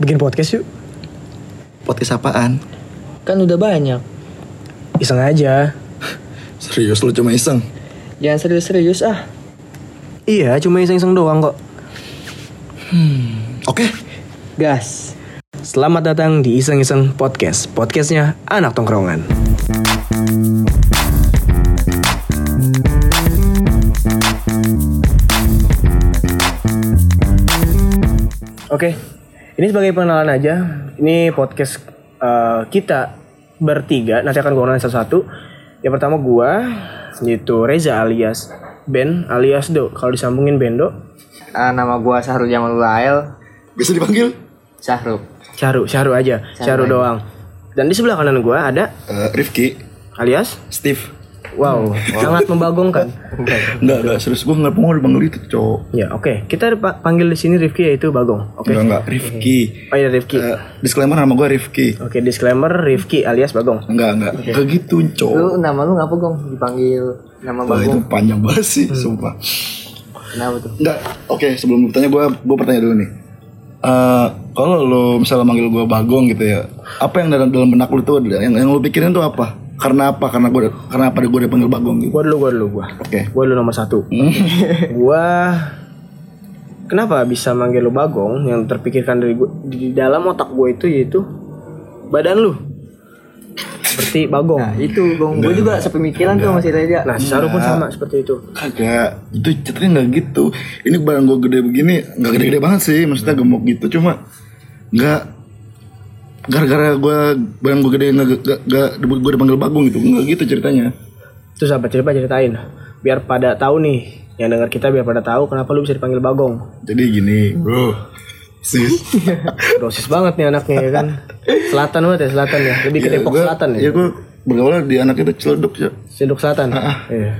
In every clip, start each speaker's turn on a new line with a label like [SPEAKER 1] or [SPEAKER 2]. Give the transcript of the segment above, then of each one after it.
[SPEAKER 1] Bikin podcast yuk.
[SPEAKER 2] Podcast apaan?
[SPEAKER 3] Kan udah banyak.
[SPEAKER 1] Iseng aja.
[SPEAKER 2] Serius lu cuma iseng?
[SPEAKER 3] Jangan serius-serius ah.
[SPEAKER 1] Iya, cuma iseng-iseng doang kok.
[SPEAKER 2] Oke,
[SPEAKER 3] Gas.
[SPEAKER 1] Selamat datang di Iseng Iseng Podcast. Podcastnya anak tongkrongan. Oke, ini sebagai pengenalan aja. Ini podcast eh, kita bertiga. Nanti akan gue kenalin satu-satu. Yang pertama gue, yaitu Reza alias Ben alias Do. Kalau disambungin Bendo,
[SPEAKER 3] Ah, nama gua Sahrul Jamal Lael.
[SPEAKER 2] bisa dipanggil
[SPEAKER 3] Sahrul.
[SPEAKER 1] Syaru, Syaru aja, Syaru doang. Dan di sebelah kanan gue ada
[SPEAKER 2] Eh, Rifki,
[SPEAKER 1] alias
[SPEAKER 2] Steve.
[SPEAKER 1] Wow,
[SPEAKER 3] Hmm.
[SPEAKER 1] sangat membagongkan.
[SPEAKER 2] Enggak, enggak, serius gue nggak mau dipanggil itu, cowok.
[SPEAKER 1] ya, oke. Kita pa- panggil di sini Rifki yaitu Bagong. Oke.
[SPEAKER 2] Enggak, enggak, Rifki.
[SPEAKER 1] Oh iya Rifki.
[SPEAKER 2] Eh, disclaimer nama gue Rifki.
[SPEAKER 1] Oke, disclaimer Rifki alias Bagong.
[SPEAKER 2] Enggak, enggak, kayak gitu, cowok.
[SPEAKER 3] Lu nama lu ngapa Gong? Dipanggil nama
[SPEAKER 2] Wah, itu
[SPEAKER 3] Bagong.
[SPEAKER 2] panjang banget sih, sumpah.
[SPEAKER 3] Kenapa tuh?
[SPEAKER 2] Enggak, oke, sebelum bertanya gue, gue bertanya dulu nih. Eh, kalau lo misalnya manggil gue Bagong gitu ya, apa yang dalam dalam benak lu tuh ada- yang yang lu pikirin tuh apa? Karena apa? Karena gue karena apa gue dipanggil Bagong gitu.
[SPEAKER 1] Gua dulu, gua dulu, gua.
[SPEAKER 2] Oke.
[SPEAKER 1] Gua dulu nomor satu.
[SPEAKER 3] Iya.
[SPEAKER 1] gua kenapa bisa manggil lu Bagong? Yang terpikirkan dari gua di dalam otak gua itu yaitu badan lu. Seperti
[SPEAKER 3] Nah,
[SPEAKER 1] Bagong.
[SPEAKER 3] itu Gong. Gua juga sepemikiran tuh masih Reza.
[SPEAKER 1] Nah, si Syaru pun sama seperti itu.
[SPEAKER 2] Kagak, itu ceritanya nggak gitu. Ini barang gue gede begini, nggak gede-gede banget sih. Maksudnya gemuk gitu, cuma nggak gara-gara gue barang gue gede nggak nggak- nggak gue dipanggil bagung gitu, nggak gitu ceritanya.
[SPEAKER 1] Terus apa cerita ceritain? Biar pada tahu nih yang dengar kita biar pada tahu kenapa lu bisa dipanggil Bagong.
[SPEAKER 2] Jadi gini, bro, sis.
[SPEAKER 1] Dosis banget nih anaknya ya kan. Selatan banget ya selatan ya. Lebih ke Depok
[SPEAKER 2] gua-
[SPEAKER 1] Selatan ya.
[SPEAKER 2] Ya gue bergaul di anak itu celduk ya.
[SPEAKER 1] Cilduk Selatan. Iya.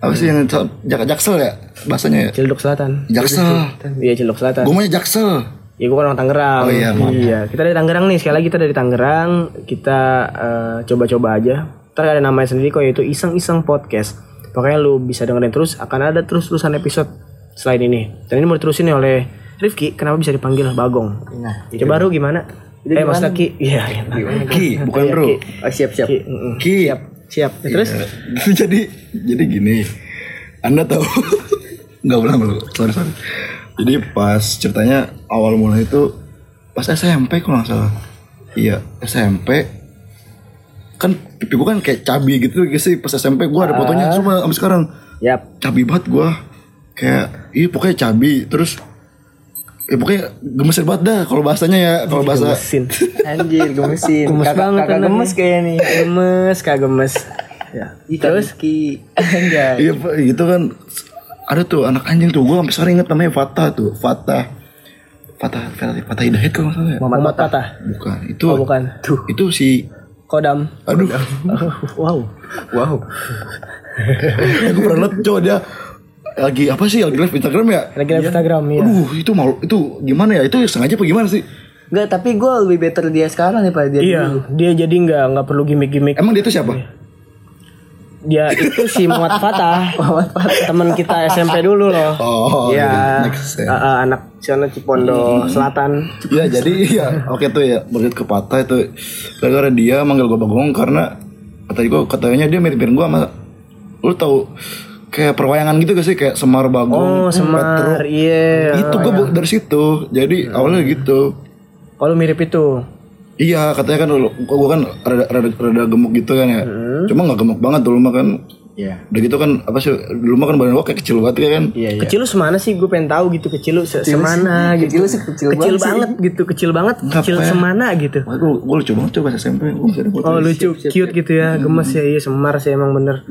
[SPEAKER 2] Apa sih yang cel- jak jaksel ya bahasanya ya?
[SPEAKER 1] Cilduk Selatan.
[SPEAKER 2] Hmm. Jaksel.
[SPEAKER 1] Iya Cilduk Selatan.
[SPEAKER 2] Gue maunya jaksel.
[SPEAKER 1] Ya gue kan orang Tangerang.
[SPEAKER 2] Oh, iya, maaf.
[SPEAKER 1] Iya, kita dari Tangerang nih. Sekali lagi kita dari Tangerang. Kita eh, coba-coba aja. Ntar ada namanya sendiri kok yaitu iseng-iseng podcast. Pokoknya lu bisa dengerin terus. Akan ada terus-terusan episode selain ini. Dan ini mau diterusin nih oleh Rifki. Kenapa bisa dipanggil Bagong?
[SPEAKER 3] Nah,
[SPEAKER 1] Coba baru gimana? eh Mas Taki. Iya. Gimana?
[SPEAKER 2] Ki, bukan bro.
[SPEAKER 3] Oh, siap-siap.
[SPEAKER 1] Ki, mm-mm.
[SPEAKER 2] Ki.
[SPEAKER 1] Siap. Ya, Terus?
[SPEAKER 2] jadi jadi gini anda tahu nggak ulang dulu sorry sorry jadi pas ceritanya awal mulai itu pas SMP kalau nggak salah iya SMP kan pipi gue kan kayak cabi gitu guys sih pas SMP gue ada fotonya cuma abis sekarang
[SPEAKER 1] Yap.
[SPEAKER 2] cabi banget gue kayak iya pokoknya cabi terus ya pokoknya gemesin banget dah kalau bahasanya ya kalau bahasa
[SPEAKER 1] Mesin.
[SPEAKER 3] Anjir, gemesin.
[SPEAKER 1] Gemes
[SPEAKER 3] Iya, Kakak-
[SPEAKER 1] banget
[SPEAKER 3] Kakak
[SPEAKER 1] anaknya.
[SPEAKER 3] gemes kayaknya nih.
[SPEAKER 1] gemes kak gemes ya
[SPEAKER 3] Terus Ki. Anjay.
[SPEAKER 2] Iya Pak, gitu kan ada tuh anak anjing tuh gue sampai sekarang inget namanya Fatah tuh Fatah Fatah Fatah, Fatah Hidayat kalau nggak salah ya
[SPEAKER 1] Muhammad patah
[SPEAKER 2] bukan itu
[SPEAKER 1] oh bukan tuh
[SPEAKER 2] itu si
[SPEAKER 1] kodam
[SPEAKER 2] aduh
[SPEAKER 1] wow wow
[SPEAKER 2] aku Eh, pernah liat cowok dia lagi apa sih lagi live Instagram ya
[SPEAKER 1] lagi live Instagram ya
[SPEAKER 2] aduh itu malu itu gimana ya itu sengaja apa gimana sih
[SPEAKER 3] Enggak, tapi gue lebih better dia sekarang daripada dia
[SPEAKER 1] iya dia jadi nggak nggak perlu gimmick gimmick
[SPEAKER 2] emang dia tuh siapa
[SPEAKER 1] Iya. dia itu si Muhammad Fatah teman kita SMP dulu loh
[SPEAKER 2] oh
[SPEAKER 1] ya
[SPEAKER 2] gitu. Next, ya.
[SPEAKER 1] eh, eh, anak sana Cipondo Selatan
[SPEAKER 2] Iya jadi ya oke tuh ya berlihat ke patah itu gara-gara dia manggil gue bagong karena kata gue katanya dia mirip-mirip gue sama lu tahu kayak perwayangan gitu gak sih kayak Semar
[SPEAKER 1] oh
[SPEAKER 2] Bagong
[SPEAKER 1] Semar iya Hmm.
[SPEAKER 2] itu gue dari situ jadi awalnya gitu
[SPEAKER 1] kalau Oh, mirip itu
[SPEAKER 2] iya katanya kan lu gue kan rada, rada, rada gemuk gitu kan ya
[SPEAKER 1] Hmm.
[SPEAKER 2] cuma nggak gemuk banget dulu mah kan
[SPEAKER 3] Iya.
[SPEAKER 2] udah gitu kan apa sih dulu mah kan badan gue kayak kecil banget ya kan
[SPEAKER 3] Iya, iya.
[SPEAKER 1] kecil lu semana sih gue pengen tahu gitu kecil lu se- semana gitu
[SPEAKER 3] Kecil lu sih kecil,
[SPEAKER 1] kecil
[SPEAKER 3] sih.
[SPEAKER 1] banget gitu kecil banget kecil semana gitu
[SPEAKER 2] Wah, gue gue lucu banget coba SMP gue masih ada foto
[SPEAKER 1] Oh lucu, cute gitu ya, gemes ya, iya semar sih emang bener.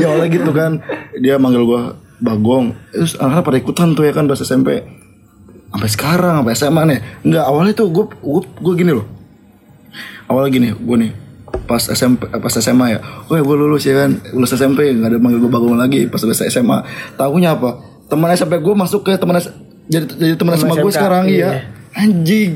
[SPEAKER 2] ya oleh gitu kan dia manggil gua bagong terus anak-anak pada ikutan tuh ya kan pas SMP sampai sekarang sampai SMA nih nggak awalnya tuh gua gua, gua gini loh awalnya gini gua nih pas SMP eh, pas SMA ya wah gua lulus ya kan lulus SMP nggak ada manggil gua bagong lagi pas lulus SMA tahunya apa teman SMP gua masuk ke teman S- jadi jadi teman SMA gua
[SPEAKER 1] SMK,
[SPEAKER 2] sekarang
[SPEAKER 1] iya.
[SPEAKER 2] iya anjing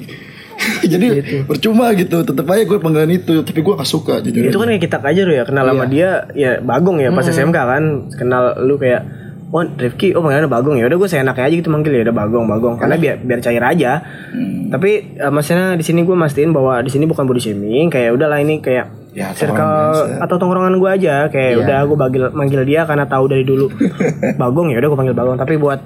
[SPEAKER 2] jadi percuma gitu tetep aja gue panggilan itu tapi gue gak suka jujur
[SPEAKER 1] itu kan kayak kita aja lu ya kenal
[SPEAKER 2] Iya.
[SPEAKER 1] sama dia ya bagong ya pas SMK kan kenal lu kayak oh Rifki oh panggilannya bagong ya udah gue seenaknya aja gitu manggil ya udah bagong bagong karena
[SPEAKER 2] Iya.
[SPEAKER 1] biar biar cair aja
[SPEAKER 2] Mm.
[SPEAKER 1] tapi eh, maksudnya di sini gue mastiin bahwa di sini bukan body shaming kayak udahlah ini kayak
[SPEAKER 2] Ya,
[SPEAKER 1] circle atau tongkrongan gue aja
[SPEAKER 2] Iya.
[SPEAKER 1] kayak udah gue bagil manggil dia karena tahu dari dulu bagong ya udah gue panggil bagong tapi buat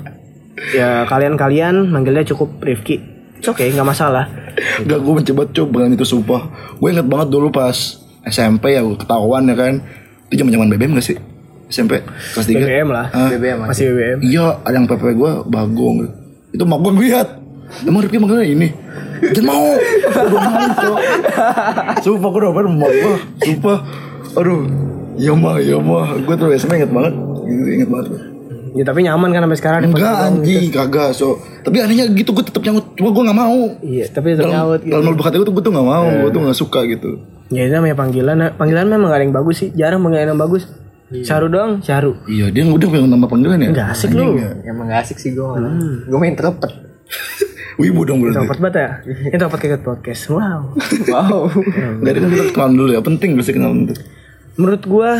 [SPEAKER 1] ya kalian-kalian manggilnya cukup Rifki oke okay, nggak masalah
[SPEAKER 2] Gak gue mencoba-coba kan itu sumpah Gue inget banget dulu pas SMP ya gua ketahuan ya kan Itu zaman zaman BBM gak sih? SMP kelas 3
[SPEAKER 1] BBM lah
[SPEAKER 3] BBM aja.
[SPEAKER 1] masih BBM
[SPEAKER 2] Iya ada yang PP gue bagong Itu mak gue ngeliat Emang Rifki makanya ini Jangan mau Gue udah mau Cok. Sumpah gue udah apa mau gue Sumpah Aduh Ya mah ya mah Gue tuh SMP inget banget Gitu, Inget banget gua.
[SPEAKER 1] ya tapi nyaman kan sampai sekarang
[SPEAKER 2] Enggak anjing kagak so Tapi anehnya gitu gue tetep nyangkut Cuma gue gak mau
[SPEAKER 1] Iya, tapi tetap
[SPEAKER 2] Dalam
[SPEAKER 1] nyaut gitu. Iya.
[SPEAKER 2] dalam lubuk hati gue tuh gue tuh gak mau Gue tuh gak suka gitu
[SPEAKER 1] Ya itu namanya panggilan. Nah, Panggilan memang gak ada yang bagus sih. Jarang panggilan yang bagus. Saru dong, Saru.
[SPEAKER 2] Iya dia udah punya nama panggilan ya?
[SPEAKER 1] Gak asik lu.
[SPEAKER 3] Emang gak asik sih gue malah. Gue main terpet.
[SPEAKER 2] Wibu dong berarti
[SPEAKER 1] Topet banget ya. Ini topet ikut podcast. Wow.
[SPEAKER 3] Wow.
[SPEAKER 2] Dari kan kita kenalan dulu ya Penting pasti kenalan tuh
[SPEAKER 1] Menurut gua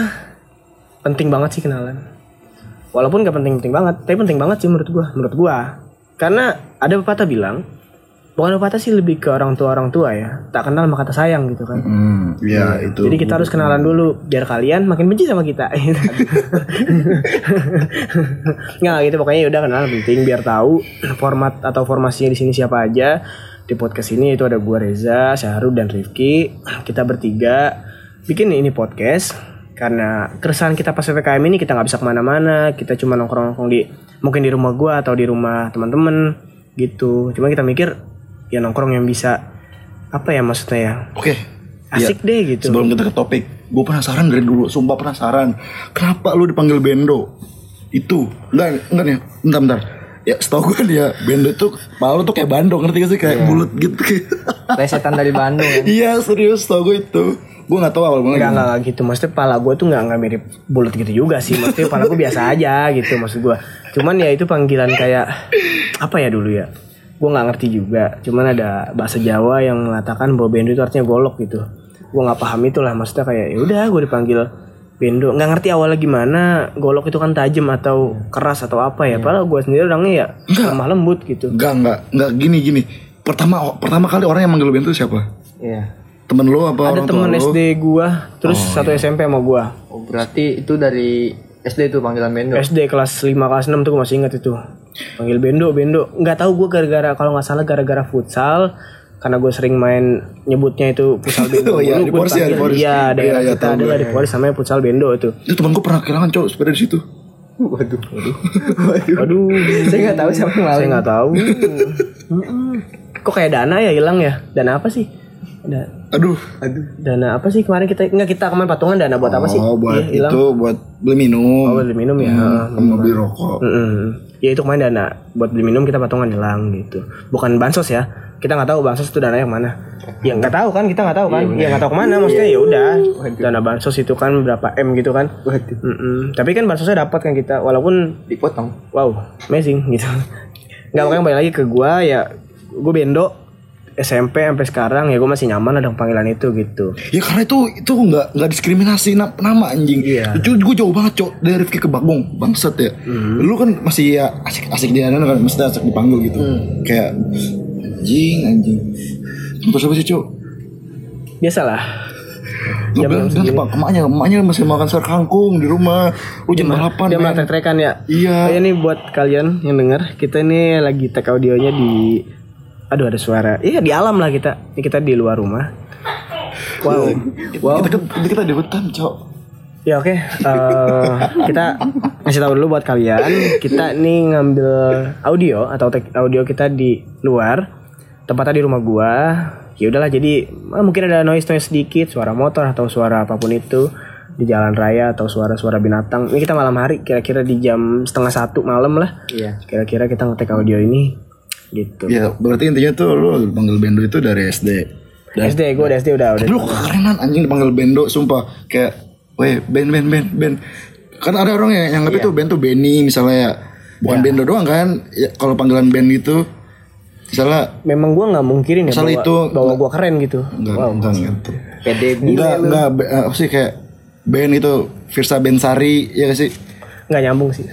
[SPEAKER 1] penting banget sih kenalan. Walaupun gak penting-penting banget, tapi penting banget sih menurut gua. Menurut gua. Karena ada pepatah bilang, bukan pepatah sih lebih ke orang tua orang tua ya. Tak kenal maka tak sayang gitu kan.
[SPEAKER 2] Hmm ya itu
[SPEAKER 1] Jadi kita harus kenalan dulu biar kalian makin benci sama kita. Nggak gitu pokoknya udah kenalan penting biar tahu format atau formasinya di sini siapa aja. Di podcast ini itu ada gua Reza, Syahrul dan Rifki. Kita bertiga bikin ini podcast karena keresahan kita pas PPKM ini kita nggak bisa kemana-mana. Kita cuma nongkrong-nongkrong di mungkin di rumah gua atau di rumah teman-teman gitu. Cuma kita mikir ya nongkrong yang bisa apa ya maksudnya ya
[SPEAKER 2] Oke Iya.
[SPEAKER 1] asik deh gitu.
[SPEAKER 2] Sebelum kita ke topik Gue penasaran dari dulu Sumpah penasaran Kenapa lu dipanggil Bendo Itu Enggak Enggak nih Bentar bentar Ya setau gue dia Bendo tuh Kepala lu tuh kayak bando Ngerti gak sih Kayak
[SPEAKER 1] Iya.
[SPEAKER 2] bulat gitu
[SPEAKER 3] Resetan dari Bandung.
[SPEAKER 2] Iya serius setau gue itu Gue gak tau awal banget
[SPEAKER 1] Enggak, enggak, gitu. Maksudnya pala gue tuh enggak, enggak mirip bulat gitu juga sih. Maksudnya pala gue biasa aja gitu maksud gue. Cuman ya itu panggilan kayak apa ya dulu ya. Gue nggak ngerti juga. Cuman ada bahasa Jawa yang mengatakan bahwa bendo itu artinya golok gitu. Gue nggak paham itulah maksudnya kayak ya udah gue dipanggil bendo. Nggak ngerti awalnya gimana. Golok itu kan tajam atau keras atau apa ya. Padahal gue sendiri orangnya ya lemah lembut gitu.
[SPEAKER 2] Enggak enggak Enggak gini gini Pertama pertama kali orang yang manggil lu Bendo siapa?
[SPEAKER 3] Iya.
[SPEAKER 2] Temen lu
[SPEAKER 1] Ada
[SPEAKER 2] apa orang tua
[SPEAKER 1] temen
[SPEAKER 2] lu?
[SPEAKER 1] SD gua, terus satu SMP sama gua.
[SPEAKER 3] Oh, berarti itu dari SD itu panggilan Bandung.
[SPEAKER 1] SD kelas 5 kelas 6 tuh gue masih ingat itu. Panggil Bendo, Bendo. Nggak tahu gue gara-gara kalau nggak salah gara-gara futsal karena gue sering main nyebutnya itu futsal Bendo.
[SPEAKER 2] Oh iya,
[SPEAKER 1] Dulu
[SPEAKER 2] di
[SPEAKER 1] gua
[SPEAKER 2] Polis ya, di
[SPEAKER 1] dipanggil.
[SPEAKER 2] Polis.
[SPEAKER 1] Iya,
[SPEAKER 2] Iya,
[SPEAKER 1] daerah
[SPEAKER 2] iya,
[SPEAKER 1] kita
[SPEAKER 2] tahu
[SPEAKER 1] ada
[SPEAKER 2] gue.
[SPEAKER 1] lah di Polis namanya futsal Bendo itu.
[SPEAKER 2] Itu temen gue pernah kehilangan cowok sepeda di situ.
[SPEAKER 3] Waduh. Waduh.
[SPEAKER 1] Aduh,
[SPEAKER 3] Saya nggak tahu siapa yang
[SPEAKER 1] saya
[SPEAKER 3] maling.
[SPEAKER 1] nggak tahu. Mm-mm. Kok kayak dana ya hilang ya? Dana apa sih? Da-
[SPEAKER 2] Aduh.
[SPEAKER 3] Aduh.
[SPEAKER 1] dana apa sih kemarin kita nggak kita kemarin patungan dana buat apa sih?
[SPEAKER 2] Oh, buat
[SPEAKER 1] Iya, hilang.
[SPEAKER 2] itu buat beli
[SPEAKER 1] Oh,
[SPEAKER 2] minum.
[SPEAKER 1] beli minum ya.
[SPEAKER 2] Hmm, sama beli rokok.
[SPEAKER 1] Mm-mm. Ya itu kemarin dana buat beli minum kita patungan hilang gitu. Bukan bansos ya. Kita nggak tahu bansos itu dana yang mana. Ya nggak tahu kan kita nggak tahu kan.
[SPEAKER 2] Iya,
[SPEAKER 1] Ya nggak tahu kemana maksudnya ya udah. Dana bansos itu kan berapa m gitu kan.
[SPEAKER 3] Waduh.
[SPEAKER 1] Mm-mm. Tapi kan bansosnya dapat kan kita walaupun
[SPEAKER 3] Dipotong.
[SPEAKER 1] wow amazing gitu. Nggak makanya balik lagi ke gua ya gue bendo SMP sampai sekarang ya gue masih nyaman ada panggilan itu gitu.
[SPEAKER 2] Ya karena itu itu nggak nggak diskriminasi na- nama anjing.
[SPEAKER 1] Iya.
[SPEAKER 2] Itu gue jauh banget cok dari Rifki ke Bagong bangsat ya.
[SPEAKER 1] Hmm.
[SPEAKER 2] Lu kan masih ya asik-asik di sana kan mesti asik dipanggil gitu.
[SPEAKER 1] Hmm.
[SPEAKER 2] Kayak anjing anjing. Terus apa sih cok?
[SPEAKER 1] Biasalah.
[SPEAKER 2] Lu
[SPEAKER 1] Iya,
[SPEAKER 2] bilang bilang apa? Emaknya, emaknya masih makan sayur kangkung di rumah. Lu jangan balapan.
[SPEAKER 1] Dia
[SPEAKER 2] men.
[SPEAKER 1] malah trek-trekan ya.
[SPEAKER 2] Iya.
[SPEAKER 1] Oh ya nih buat kalian yang denger, kita ini lagi tag audionya di aduh ada suara. Iya di alam lah kita. Ini kita di luar rumah. Wow.
[SPEAKER 2] Wow. Kita, kan, kita, kita di hutan cok.
[SPEAKER 1] Ya oke, Eh, kita ngasih tahu dulu buat kalian, kita nih ngambil audio atau tag audio kita di luar, tempatnya di rumah gua. Ya udahlah, jadi eh, mungkin ada noise noise sedikit, suara motor atau suara apapun itu di jalan raya atau suara-suara binatang. Ini kita malam hari, kira-kira di jam setengah satu malam lah.
[SPEAKER 3] Iya.
[SPEAKER 1] Kira-kira kita ngetek audio ini, gitu.
[SPEAKER 2] Ya berarti intinya tuh lu panggil Bendo itu dari SD.
[SPEAKER 1] SD, gua udah SD udah udah.
[SPEAKER 2] Tapi lu kekerenan anjing dipanggil Bendo sumpah kayak weh Ben Ben Ben Ben. Kan ada orang yang nganggap itu Ben tuh Benny misalnya ya. Bukan Bendo doang kan? Ya, kalau panggilan Ben gitu misalnya
[SPEAKER 1] Memang gua nggak mungkirin ya
[SPEAKER 2] Misal
[SPEAKER 1] bahwa,
[SPEAKER 2] itu-
[SPEAKER 1] bahwa gua keren gitu.
[SPEAKER 2] enggak enggak gitu.
[SPEAKER 3] Pede
[SPEAKER 2] Enggak enggak be- eh, apa sih kayak band itu Firsa Bensari ya gak sih?
[SPEAKER 1] Nggak nyambung sih.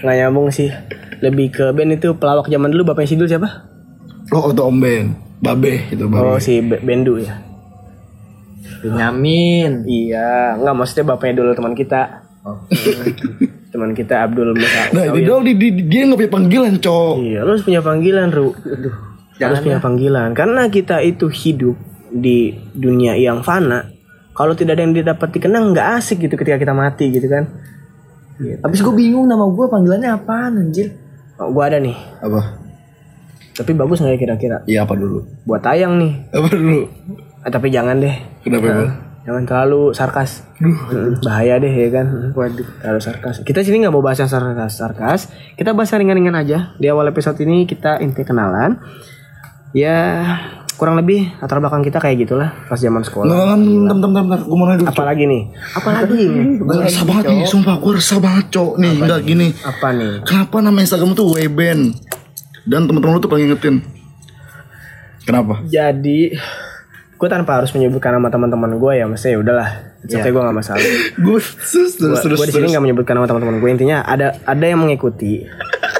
[SPEAKER 1] Nggak nyambung sih. Lebih ke band itu pelawak zaman dulu bapaknya Sidul siapa?
[SPEAKER 2] Lo Oh, atau Om Ben, Babe gitu
[SPEAKER 1] Oh
[SPEAKER 2] Babe.
[SPEAKER 1] si Be- Bendu ya.
[SPEAKER 3] Benyamin.
[SPEAKER 1] Iya, nggak maksudnya bapaknya dulu teman kita.
[SPEAKER 3] Oh.
[SPEAKER 1] teman kita Abdul Musa.
[SPEAKER 2] Nah, itu dong di, di, dia nggak punya panggilan, cowok.
[SPEAKER 1] Iya, lu harus punya panggilan, Ru. harus
[SPEAKER 3] ya.
[SPEAKER 1] punya panggilan. Karena kita itu hidup di dunia yang fana. Kalau tidak ada yang didapat dikenang, nggak asik gitu ketika kita mati gitu kan.
[SPEAKER 3] Abis gue bingung nama gue panggilannya apaan anjir.
[SPEAKER 1] Oh, gua ada nih.
[SPEAKER 2] Apa?
[SPEAKER 1] Tapi bagus nggak ya kira-kira?
[SPEAKER 2] Iya apa dulu?
[SPEAKER 1] Buat tayang nih.
[SPEAKER 2] Apa dulu?
[SPEAKER 1] Ah, tapi jangan deh.
[SPEAKER 2] Kenapa emang?
[SPEAKER 1] Jangan terlalu sarkas. Mm, Bahaya deh ya kan. Waduh, terlalu sarkas. Kita sini nggak mau bahas yang sarkas, sarkas. Kita bahas yang ringan-ringan aja. Di awal episode ini kita inti kenalan. Ya kurang lebih latar belakang kita kayak gitulah pas zaman sekolah.
[SPEAKER 2] Enggak, enggak, Nah, kan, bentar, bentar, bentar, bentar. Gue mau nanya dulu.
[SPEAKER 1] Apalagi nih? Apalagi nih?
[SPEAKER 2] Gue resah banget nih, sumpah gue resah banget, cowok. Nih, enggak gini.
[SPEAKER 1] Apa nih?
[SPEAKER 2] Kenapa nama Instagram tuh Weben? Dan teman-teman lu tuh pengen ngetin. Kenapa?
[SPEAKER 1] Jadi gue tanpa harus menyebutkan nama teman-teman gue ya, maksudnya ya udahlah. Saya gue gak masalah.
[SPEAKER 2] Gue terus terus terus
[SPEAKER 1] gue di sini nggak menyebutkan nama teman-teman gue intinya ada ada yang mengikuti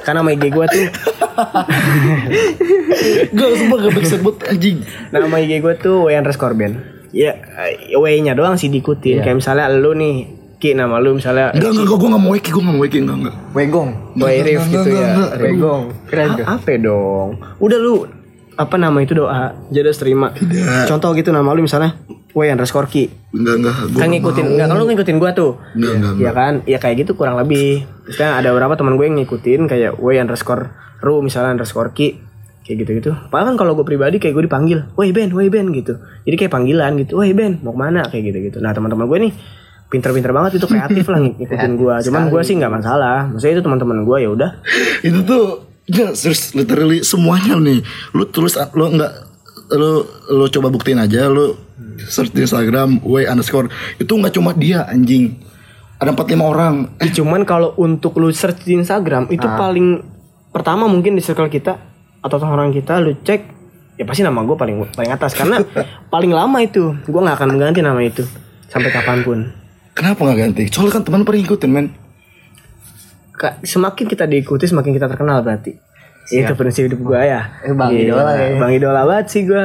[SPEAKER 1] karena nama IG gue tuh
[SPEAKER 2] Gue sumpah gak bisa buat anjing.
[SPEAKER 1] nama IG gue tuh Wayan Iya. Reskorben ya eh, W-nya doang sih diikutin kayak misalnya lu nih Ki nama lu misalnya
[SPEAKER 2] Enggak enggak gue nggak mau wiki gue nggak mau wiki enggak enggak.
[SPEAKER 3] Wegong.
[SPEAKER 1] Boy Rif
[SPEAKER 2] enggak,
[SPEAKER 1] gitu
[SPEAKER 2] enggak,
[SPEAKER 1] ya
[SPEAKER 2] enggak.
[SPEAKER 3] Wegong. Keren tuh.
[SPEAKER 1] Ah, apa dong udah lu apa nama itu doa jadi harus terima contoh gitu nama lu misalnya Wayan Reskor Ki
[SPEAKER 2] Enggak enggak. Gua
[SPEAKER 1] kan ngikutin enggak kalau lu ngikutin gue tuh
[SPEAKER 2] Enggak enggak.
[SPEAKER 1] ya kan ya kayak gitu kurang lebih misalnya ada beberapa teman gue yang ngikutin kayak woi underscore ru misalnya underscore ki kayak gitu gitu padahal kan kalau gue pribadi kayak gue dipanggil woi ben woi ben gitu jadi kayak panggilan gitu woi ben mau kemana kayak gitu gitu nah teman-teman gue nih pinter-pinter banget itu kreatif lah ngikutin gue cuman gue sih nggak masalah maksudnya itu teman-teman gue ya udah
[SPEAKER 2] Itu tuh ya serius literally semuanya nih. Lu tulis lu enggak lu lu coba buktiin aja lu search di Instagram w underscore itu nggak cuma dia anjing ada 45 orang Eh,
[SPEAKER 1] Ih, cuman kalau untuk lu search di Instagram itu
[SPEAKER 3] Ah.
[SPEAKER 1] paling pertama mungkin di circle kita atau orang kita lu cek ya pasti nama gue paling paling atas karena paling lama itu gue nggak akan mengganti nama itu sampai kapanpun
[SPEAKER 2] kenapa nggak ganti soalnya kan teman pernah ngikutin men
[SPEAKER 1] Ka- semakin kita diikuti semakin kita terkenal berarti itu prinsip hidup gue ya
[SPEAKER 3] Eh, Bang Idola ya.
[SPEAKER 1] bang idola banget sih gue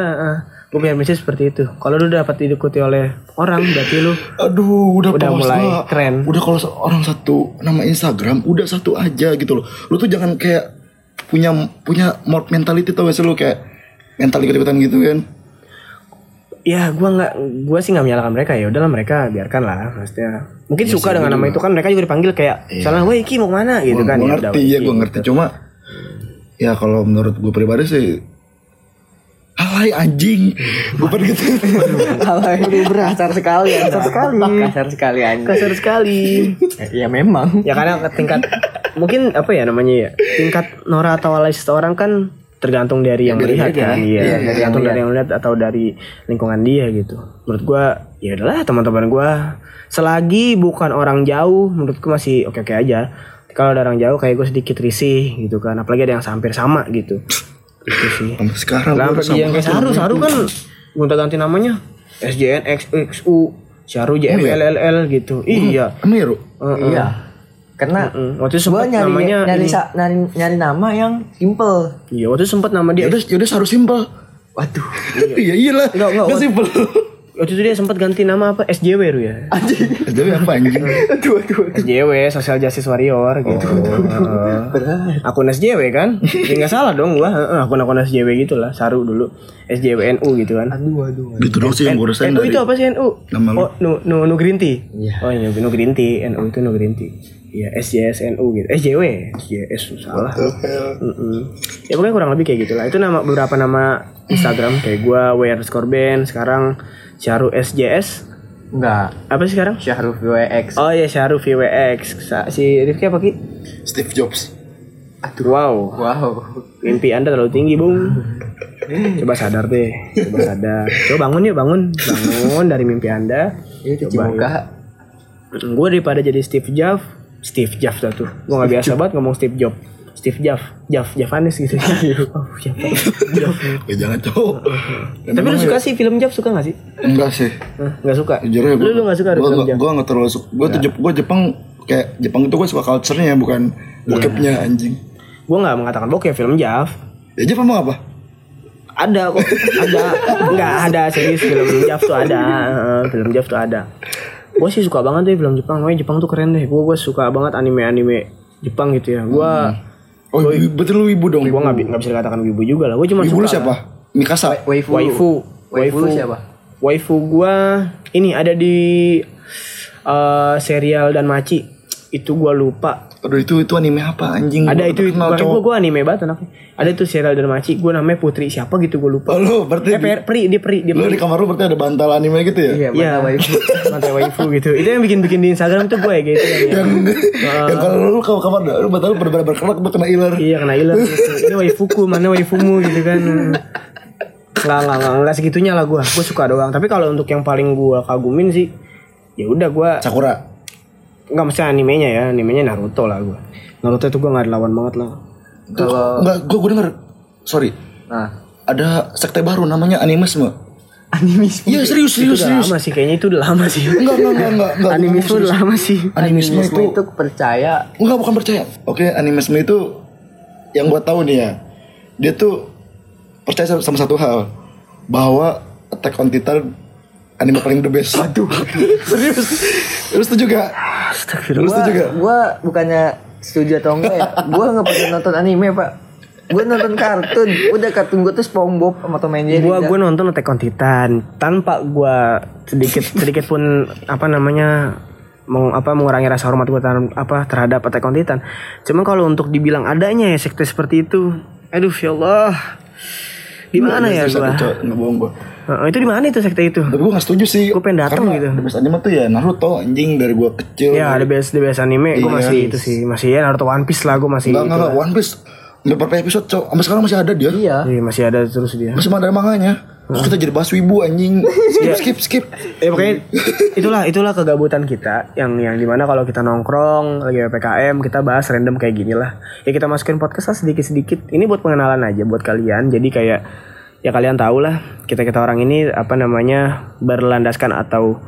[SPEAKER 1] gue punya prinsip seperti itu kalau lu dapat diikuti oleh orang berarti lu
[SPEAKER 2] Aduh, udah,
[SPEAKER 1] Udah
[SPEAKER 2] polos
[SPEAKER 1] mulai
[SPEAKER 2] lah.
[SPEAKER 1] keren.
[SPEAKER 2] Udah kalau se- orang satu nama Instagram, udah satu aja gitu loh. Lu tuh jangan kayak punya punya mob mentality tau gak sih lu kayak mental ikut-ikutan gitu kan.
[SPEAKER 1] ya gua nggak gua sih nggak menyalahkan mereka ya udahlah mereka biarkan lah maksudnya mungkin suka dengan nama itu kan mereka juga dipanggil kayak misalnya woi Ki mau kemana gitu
[SPEAKER 2] Gua,
[SPEAKER 1] kan
[SPEAKER 2] gua
[SPEAKER 1] ya
[SPEAKER 2] ngerti ya, gua ngerti cuma ya kalau menurut gue pribadi sih Alay anjing Gue pengen gitu
[SPEAKER 3] Aduh berasar sekali Kasar sekali Kasar sekali anjir
[SPEAKER 1] kasar sekali
[SPEAKER 3] Ya memang
[SPEAKER 1] ya karena ke tingkat mungkin apa ya namanya ya tingkat Nora atau alay seseorang kan tergantung dari yang melihat kan iya tergantung dari yang melihat atau dari lingkungan dia gitu menurut gua ya udahlah teman-teman gua selagi bukan orang jauh menurut gua masih oke oke aja kalau ada orang jauh kayak gue sedikit risih gitu kan apalagi ada yang hampir sama gitu gitu sih
[SPEAKER 2] Sampai sekarang
[SPEAKER 1] Lah, sampai
[SPEAKER 2] gua sama
[SPEAKER 1] yang kayak Saru Saru kan gonta ganti namanya SJNXXU Saru JFLLL gitu iya
[SPEAKER 2] Emang ya Ru?
[SPEAKER 3] Oh, Hmm. Iya Karena
[SPEAKER 1] Mm, waktu itu
[SPEAKER 3] Gue
[SPEAKER 1] sempat
[SPEAKER 3] nyari,
[SPEAKER 1] namanya
[SPEAKER 3] nyari,
[SPEAKER 1] ini.
[SPEAKER 3] sa- nyari, nyari nama yang simple
[SPEAKER 1] Iya, waktu itu sempat nama
[SPEAKER 2] Ya
[SPEAKER 1] dia.
[SPEAKER 2] udah, ya udah harus simpel
[SPEAKER 3] Waduh
[SPEAKER 2] Iya iyalah
[SPEAKER 1] Enggak, enggak,
[SPEAKER 2] Gak simpel
[SPEAKER 1] Waktu itu dia sempat ganti nama apa? SJW Ru ya.
[SPEAKER 2] Jadi apa anjing
[SPEAKER 3] Aduh aduh
[SPEAKER 1] SJW, Social Justice Warrior gitu. Heeh.
[SPEAKER 3] Oh, iya. Berat
[SPEAKER 1] akun SJW kan? Ya enggak salah dong gua. Heeh, Akun-akun SJW gitu lah, Saru dulu. SJWNU gitu kan.
[SPEAKER 3] Aduh aduh
[SPEAKER 2] Gitu dong sih yang gue rasain
[SPEAKER 1] NU
[SPEAKER 2] dari
[SPEAKER 1] itu apa sih NU?
[SPEAKER 2] Nama lu.
[SPEAKER 1] Oh, nu, nu, nu Green Tea.
[SPEAKER 3] Iya.
[SPEAKER 1] Oh, iya, nu Green Tea. NU itu nu Green Tea. Iya, SJS NU gitu. SJW, SJS salah. Mm-mm. Ya pokoknya kurang lebih kayak gitulah. Itu nama beberapa nama Instagram kayak gua W underscore band, sekarang Syaru SJS.
[SPEAKER 3] Enggak
[SPEAKER 1] Apa sih sekarang?
[SPEAKER 3] Syahruf WX
[SPEAKER 1] Oh iya Syaru VWX. Sa- Si Rifki apa Ki?
[SPEAKER 2] Steve Jobs
[SPEAKER 1] Wow,
[SPEAKER 3] Wow
[SPEAKER 1] mimpi Anda terlalu tinggi, Bung. Coba sadar deh, coba sadar. Coba bangun yuk, bangun. Bangun dari mimpi Anda.
[SPEAKER 3] Ini cuci muka
[SPEAKER 1] gue daripada jadi Steve Jobs Steve Jobs dah tuh gue gak biasa banget ngomong Steve Jobs Steve Jav Jav Javanes gitu oh, siapa Jav.
[SPEAKER 2] Ya jangan cowok.
[SPEAKER 1] tapi lu suka sih film Jav suka gak sih
[SPEAKER 2] Enggak sih.
[SPEAKER 1] Hah, nggak suka
[SPEAKER 2] Jujur ya
[SPEAKER 1] lu lu nggak suka Iya. ada
[SPEAKER 2] Gue
[SPEAKER 1] film
[SPEAKER 2] gak,
[SPEAKER 1] Jav
[SPEAKER 2] gua gak terlalu suka. Gue tuh Jep- gua Jepang kayak Jepang itu gue suka culture-nya bukan
[SPEAKER 1] Iya.
[SPEAKER 2] bokepnya anjing.
[SPEAKER 1] gue nggak mengatakan bokeh film Jav
[SPEAKER 2] Ya Jepang mau apa?
[SPEAKER 1] ada kok ada nggak ada serius film Jav tuh ada Heeh, film Jav tuh ada gue sih suka banget deh film Jepang Wah Jepang tuh keren deh gue gue suka banget anime anime Jepang gitu ya gue
[SPEAKER 2] Oh, betul lu ibu dong.
[SPEAKER 1] gue nggak bi- nggak bisa dikatakan wibu juga lah gue cuma
[SPEAKER 2] Ibu
[SPEAKER 1] suka
[SPEAKER 2] lu siapa? Mikasa.
[SPEAKER 3] Waifu.
[SPEAKER 1] waifu
[SPEAKER 3] Waifu siapa?
[SPEAKER 1] waifu gue ini ada di eh, serial dan maci itu gue lupa
[SPEAKER 2] Aduh itu itu anime apa anjing?
[SPEAKER 1] ada
[SPEAKER 2] Gua
[SPEAKER 1] itu itu
[SPEAKER 2] kenal
[SPEAKER 1] gue
[SPEAKER 2] cowok.
[SPEAKER 1] gue anime banget anaknya ada tuh serial dan maci gue namanya putri siapa gitu gue lupa
[SPEAKER 2] Oh, lu berarti
[SPEAKER 1] eh Per- peri dia peri dia
[SPEAKER 2] lu
[SPEAKER 1] peri
[SPEAKER 2] di kamar lu berarti ada bantal anime gitu ya?
[SPEAKER 3] Iya,
[SPEAKER 1] Iya,
[SPEAKER 3] mana waifu?
[SPEAKER 1] Mantai waifu gitu. Itu yang bikin-bikin di Instagram tuh gue ya gitu.
[SPEAKER 2] Yang, yang kalau lu ke kamar lu bantal lu berber berkerak lu kena iler.
[SPEAKER 1] Iya kena ilang gitu. Ini waifuku, mana waifumu gitu kan. Enggak, enggak, enggak, enggak segitunya lah gue. Gue suka doang. Tapi kalau untuk yang paling gue kagumin sih, ya udah gue
[SPEAKER 2] Sakura.
[SPEAKER 1] nggak mesti animenya ya. Animenya Naruto lah gue. Naruto itu gue nggak ada lawan banget lah.
[SPEAKER 2] Kalau enggak gua gua denger. Sorry.
[SPEAKER 3] Nah,
[SPEAKER 2] Ada sekte baru namanya animisme.
[SPEAKER 3] animisme.
[SPEAKER 2] Iya
[SPEAKER 1] Itu
[SPEAKER 2] serius serius
[SPEAKER 1] gitu udah
[SPEAKER 2] serius.
[SPEAKER 1] lama sih. Kayaknya itu udah lama sih.
[SPEAKER 2] Enggak enggak enggak enggak. enggak.
[SPEAKER 1] Anime itu udah lama sih.
[SPEAKER 2] Animisme
[SPEAKER 3] Animisme
[SPEAKER 2] itu
[SPEAKER 3] itu percaya
[SPEAKER 2] Enggak bukan percaya. Oke, animisme itu yang gua tahu nih ya. Dia tuh percaya sama- sama satu hal bahwa Attack on Titan anime paling the best. Aduh. Serius. Lu setuju gak? Lu
[SPEAKER 3] gua,
[SPEAKER 2] setuju gak?
[SPEAKER 3] gua bukannya setuju atau enggak ya gua nggak pernah nonton anime pak gua nonton kartun udah kartun gua tuh SpongeBob sama Tom and Jerry
[SPEAKER 1] Gua
[SPEAKER 3] dah.
[SPEAKER 1] gua nonton Attack on Titan tanpa gua sedikit sedikit pun apa namanya meng, apa mengurangi rasa hormat gua terhadap, apa terhadap Attack on Titan. Cuman kalau untuk dibilang adanya ya sekte seperti itu, aduh ya Allah. Gimana ya
[SPEAKER 2] Serius,
[SPEAKER 1] gua?
[SPEAKER 2] aku cowok, Nggak bohong gua.
[SPEAKER 1] Heeh, itu di mana itu sekte itu?
[SPEAKER 2] Tapi gua gak setuju sih.
[SPEAKER 1] Gua pengen dateng
[SPEAKER 2] Karena
[SPEAKER 1] gitu.
[SPEAKER 2] The best anime tuh ya Naruto anjing dari gua kecil.
[SPEAKER 1] Ya, ada bias ada bias anime, gua
[SPEAKER 2] Iya.
[SPEAKER 1] masih itu sih, masih ya Naruto One Piece lah gua masih
[SPEAKER 2] Enggak
[SPEAKER 1] itu
[SPEAKER 2] enggak
[SPEAKER 1] lah.
[SPEAKER 2] One Piece. Udah berapa episode, cowok? Sampai sekarang masih ada dia.
[SPEAKER 3] iya
[SPEAKER 1] Iya, masih ada terus dia.
[SPEAKER 2] Masih ada manganya. Kok kita jadi bahas wibu anjing. Skip skip skip.
[SPEAKER 1] Ya pokoknya itulah itulah kegabutan kita yang yang dimana kalau kita nongkrong lagi PKM kita bahas random kayak gini lah ya kita masukin podcast lah sedikit sedikit ini buat pengenalan aja buat kalian jadi kayak ya kalian tau lah kita kita orang ini apa namanya berlandaskan atau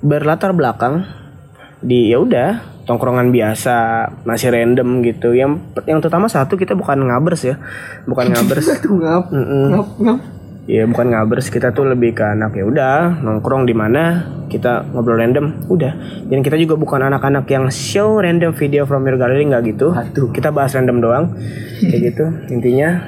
[SPEAKER 1] berlatar belakang di ya udah tongkrongan biasa masih random gitu yang yang terutama satu kita bukan ngabers ya bukan ngabers
[SPEAKER 3] tuh ngap ngap ngap
[SPEAKER 1] Iya bukan ngabers kita tuh lebih ke anak ya udah nongkrong di mana kita ngobrol random udah dan kita juga bukan anak-anak yang show random video from your gallery nggak gitu
[SPEAKER 3] Aduh.
[SPEAKER 1] kita bahas random doang kayak gitu intinya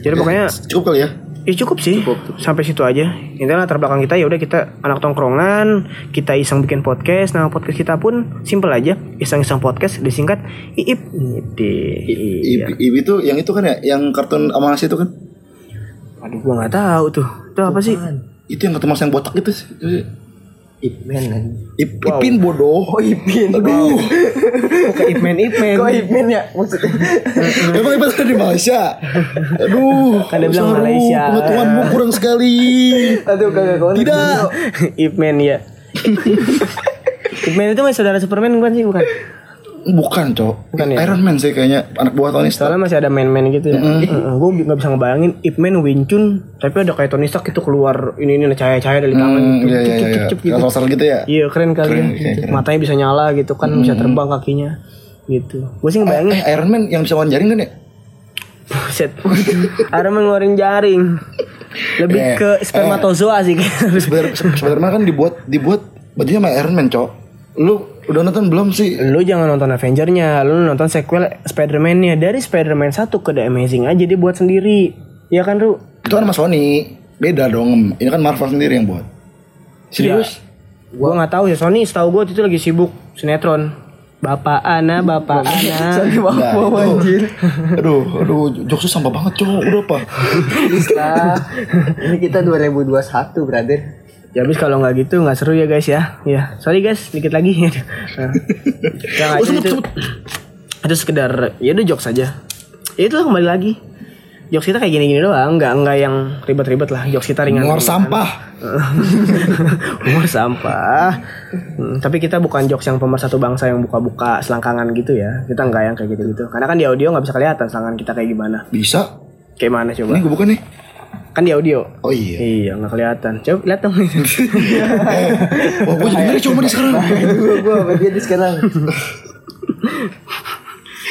[SPEAKER 1] jadi pokoknya
[SPEAKER 2] Cukup kali ya.
[SPEAKER 1] ya Iya. cukup sih sampai situ aja intinya latar belakang kita ya udah kita anak tongkrongan kita iseng bikin podcast nama podcast kita pun simple aja iseng-iseng podcast disingkat iip Gitu. Iya.
[SPEAKER 2] Ibi, Ibi itu yang itu kan ya, yang kartun Amanas itu kan?
[SPEAKER 1] aduh gua nggak tahu tuh itu apa sih
[SPEAKER 2] Itu yang kartun mas yang botak gitu sih.
[SPEAKER 3] Ip Man anjing.
[SPEAKER 2] Ip- Ipin bodoh. Oh, Ipin. Aduh.
[SPEAKER 1] Ip Man Ip Man
[SPEAKER 3] kok Ip Man ya maksudnya
[SPEAKER 2] Emang Ipin ada di Malaysia. Aduh.
[SPEAKER 1] Kan dia bilang
[SPEAKER 2] Saru,
[SPEAKER 1] Malaysia.
[SPEAKER 2] Pengetahuanmu kurang sekali.
[SPEAKER 3] aduh kagak konek
[SPEAKER 2] Tidak.
[SPEAKER 1] Ip Man ya. Ip Man itu masih saudara Superman bukan sih bukan?
[SPEAKER 2] Bukan, Cok.
[SPEAKER 1] Bukan ya?
[SPEAKER 2] Iron Man sih kayaknya anak buah Tony Stark.
[SPEAKER 1] Soalnya masih ada man-man gitu ya.
[SPEAKER 2] Mm-hmm.
[SPEAKER 1] Gue nggak bisa ngebayangin Ip Man Wing Chun tapi ada kayak Tony Stark itu keluar ini ini cahaya-cahaya dari tangan
[SPEAKER 2] Hmm,
[SPEAKER 1] gitu.
[SPEAKER 2] iya
[SPEAKER 1] Cep,
[SPEAKER 2] iya iya.
[SPEAKER 1] cep, cep, gitu.
[SPEAKER 2] Kalau sasar gitu ya.
[SPEAKER 1] Iya keren kali
[SPEAKER 2] Keren,
[SPEAKER 1] ya.
[SPEAKER 2] keren, keren. Mm-hmm.
[SPEAKER 1] Matanya bisa nyala gitu kan bisa terbang kakinya gitu. Gue sih ngebayangin
[SPEAKER 2] Eh, Iron Man yang bisa wan jaring kan ya?
[SPEAKER 1] buset. Ada ngeluarin jaring. Lebih
[SPEAKER 2] Eh,
[SPEAKER 1] ke spermatozoa sih kayaknya.
[SPEAKER 2] Spider- Spider-Man kan dibuat dibuat bajunya sama Iron Man, Cok. Lu udah nonton belum sih?
[SPEAKER 1] lu jangan nonton Avengernya, lu nonton sequel Spider-Man-nya dari Spider-Man 1 ke The Amazing aja dia buat sendiri. Ya kan, Ru?
[SPEAKER 2] Itu kan sama Sony. Beda dong. Ini kan Marvel sendiri yang buat.
[SPEAKER 1] Iya.
[SPEAKER 2] Serius?
[SPEAKER 1] Gua nggak tahu ya Sony, setahu gua itu lagi sibuk sinetron. Bapak Ana, Bapak Ana.
[SPEAKER 3] Sorry, maaf,
[SPEAKER 2] Nah,
[SPEAKER 3] maaf,
[SPEAKER 2] itu.
[SPEAKER 3] anjir.
[SPEAKER 2] aduh, aduh, jokesnya sampah banget cowok, udah apa?
[SPEAKER 3] Please lah. ini kita 2021 brother
[SPEAKER 1] Ya habis kalau nggak gitu nggak seru ya guys ya. Ya, sorry guys, dikit lagi. Nah. Yang aja itu, itu sekedar ya udah jokes aja. Ya itu kembali lagi. jokes kita kayak gini-gini doang, nggak nggak yang ribet-ribet lah. Jokes kita ringan.
[SPEAKER 2] Ngor sampah.
[SPEAKER 1] Humor sampah. Hmm, tapi kita bukan jokes yang pemersatu bangsa yang buka-buka selangkangan gitu ya. Kita nggak yang kayak gitu-gitu. Karena kan di audio nggak bisa kelihatan selangkangan kita kayak gimana.
[SPEAKER 2] Bisa.
[SPEAKER 1] Kayak mana coba?
[SPEAKER 2] Ini gue bukan nih.
[SPEAKER 1] Kan di audio.
[SPEAKER 2] Oh iya.
[SPEAKER 1] Iya, nggak kelihatan. Coba lihat dong.
[SPEAKER 2] Wah, gue jadi ngeri coba nih sekarang.
[SPEAKER 3] Gue gue sama dia nih sekarang.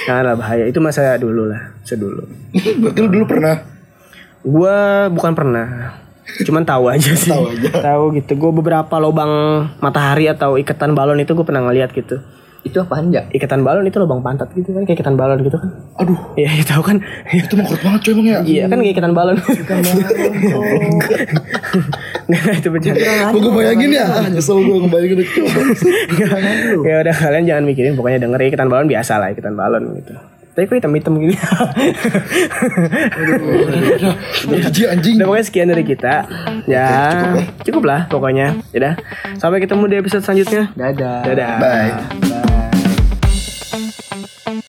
[SPEAKER 1] Jangan lah bahaya. Itu masa dulu lah, sedulu.
[SPEAKER 2] Berarti lu dulu pernah
[SPEAKER 1] Gua bukan pernah. Cuman tahu aja sih.
[SPEAKER 2] Tahu aja.
[SPEAKER 1] Tahu gitu. Gue beberapa lubang matahari atau iketan balon itu gue pernah ngeliat gitu.
[SPEAKER 3] Itu apaan ya?
[SPEAKER 1] Iketan balon itu lubang pantat gitu kan, kayak iketan balon gitu kan.
[SPEAKER 2] Aduh,
[SPEAKER 1] Iya, ya, tahu kan.
[SPEAKER 2] itu mengkut banget coy emang ya.
[SPEAKER 1] Iya kan kayak iketan balon. Nggak, itu bercanda.
[SPEAKER 2] Gue gue bayangin ya, ah, nyesel gue ngebayangin itu.
[SPEAKER 1] Ya udah kalian jangan mikirin pokoknya denger iketan balon biasa lah iketan balon gitu. Tapi kok hitam-hitam gini.
[SPEAKER 2] Udah jijik anjing.
[SPEAKER 1] Udah pokoknya sekian dari kita. eh. Ya, cukup lah pokoknya. Udah. Sampai ketemu di episode selanjutnya.
[SPEAKER 3] Dadah.
[SPEAKER 1] Dadah.
[SPEAKER 2] Bye.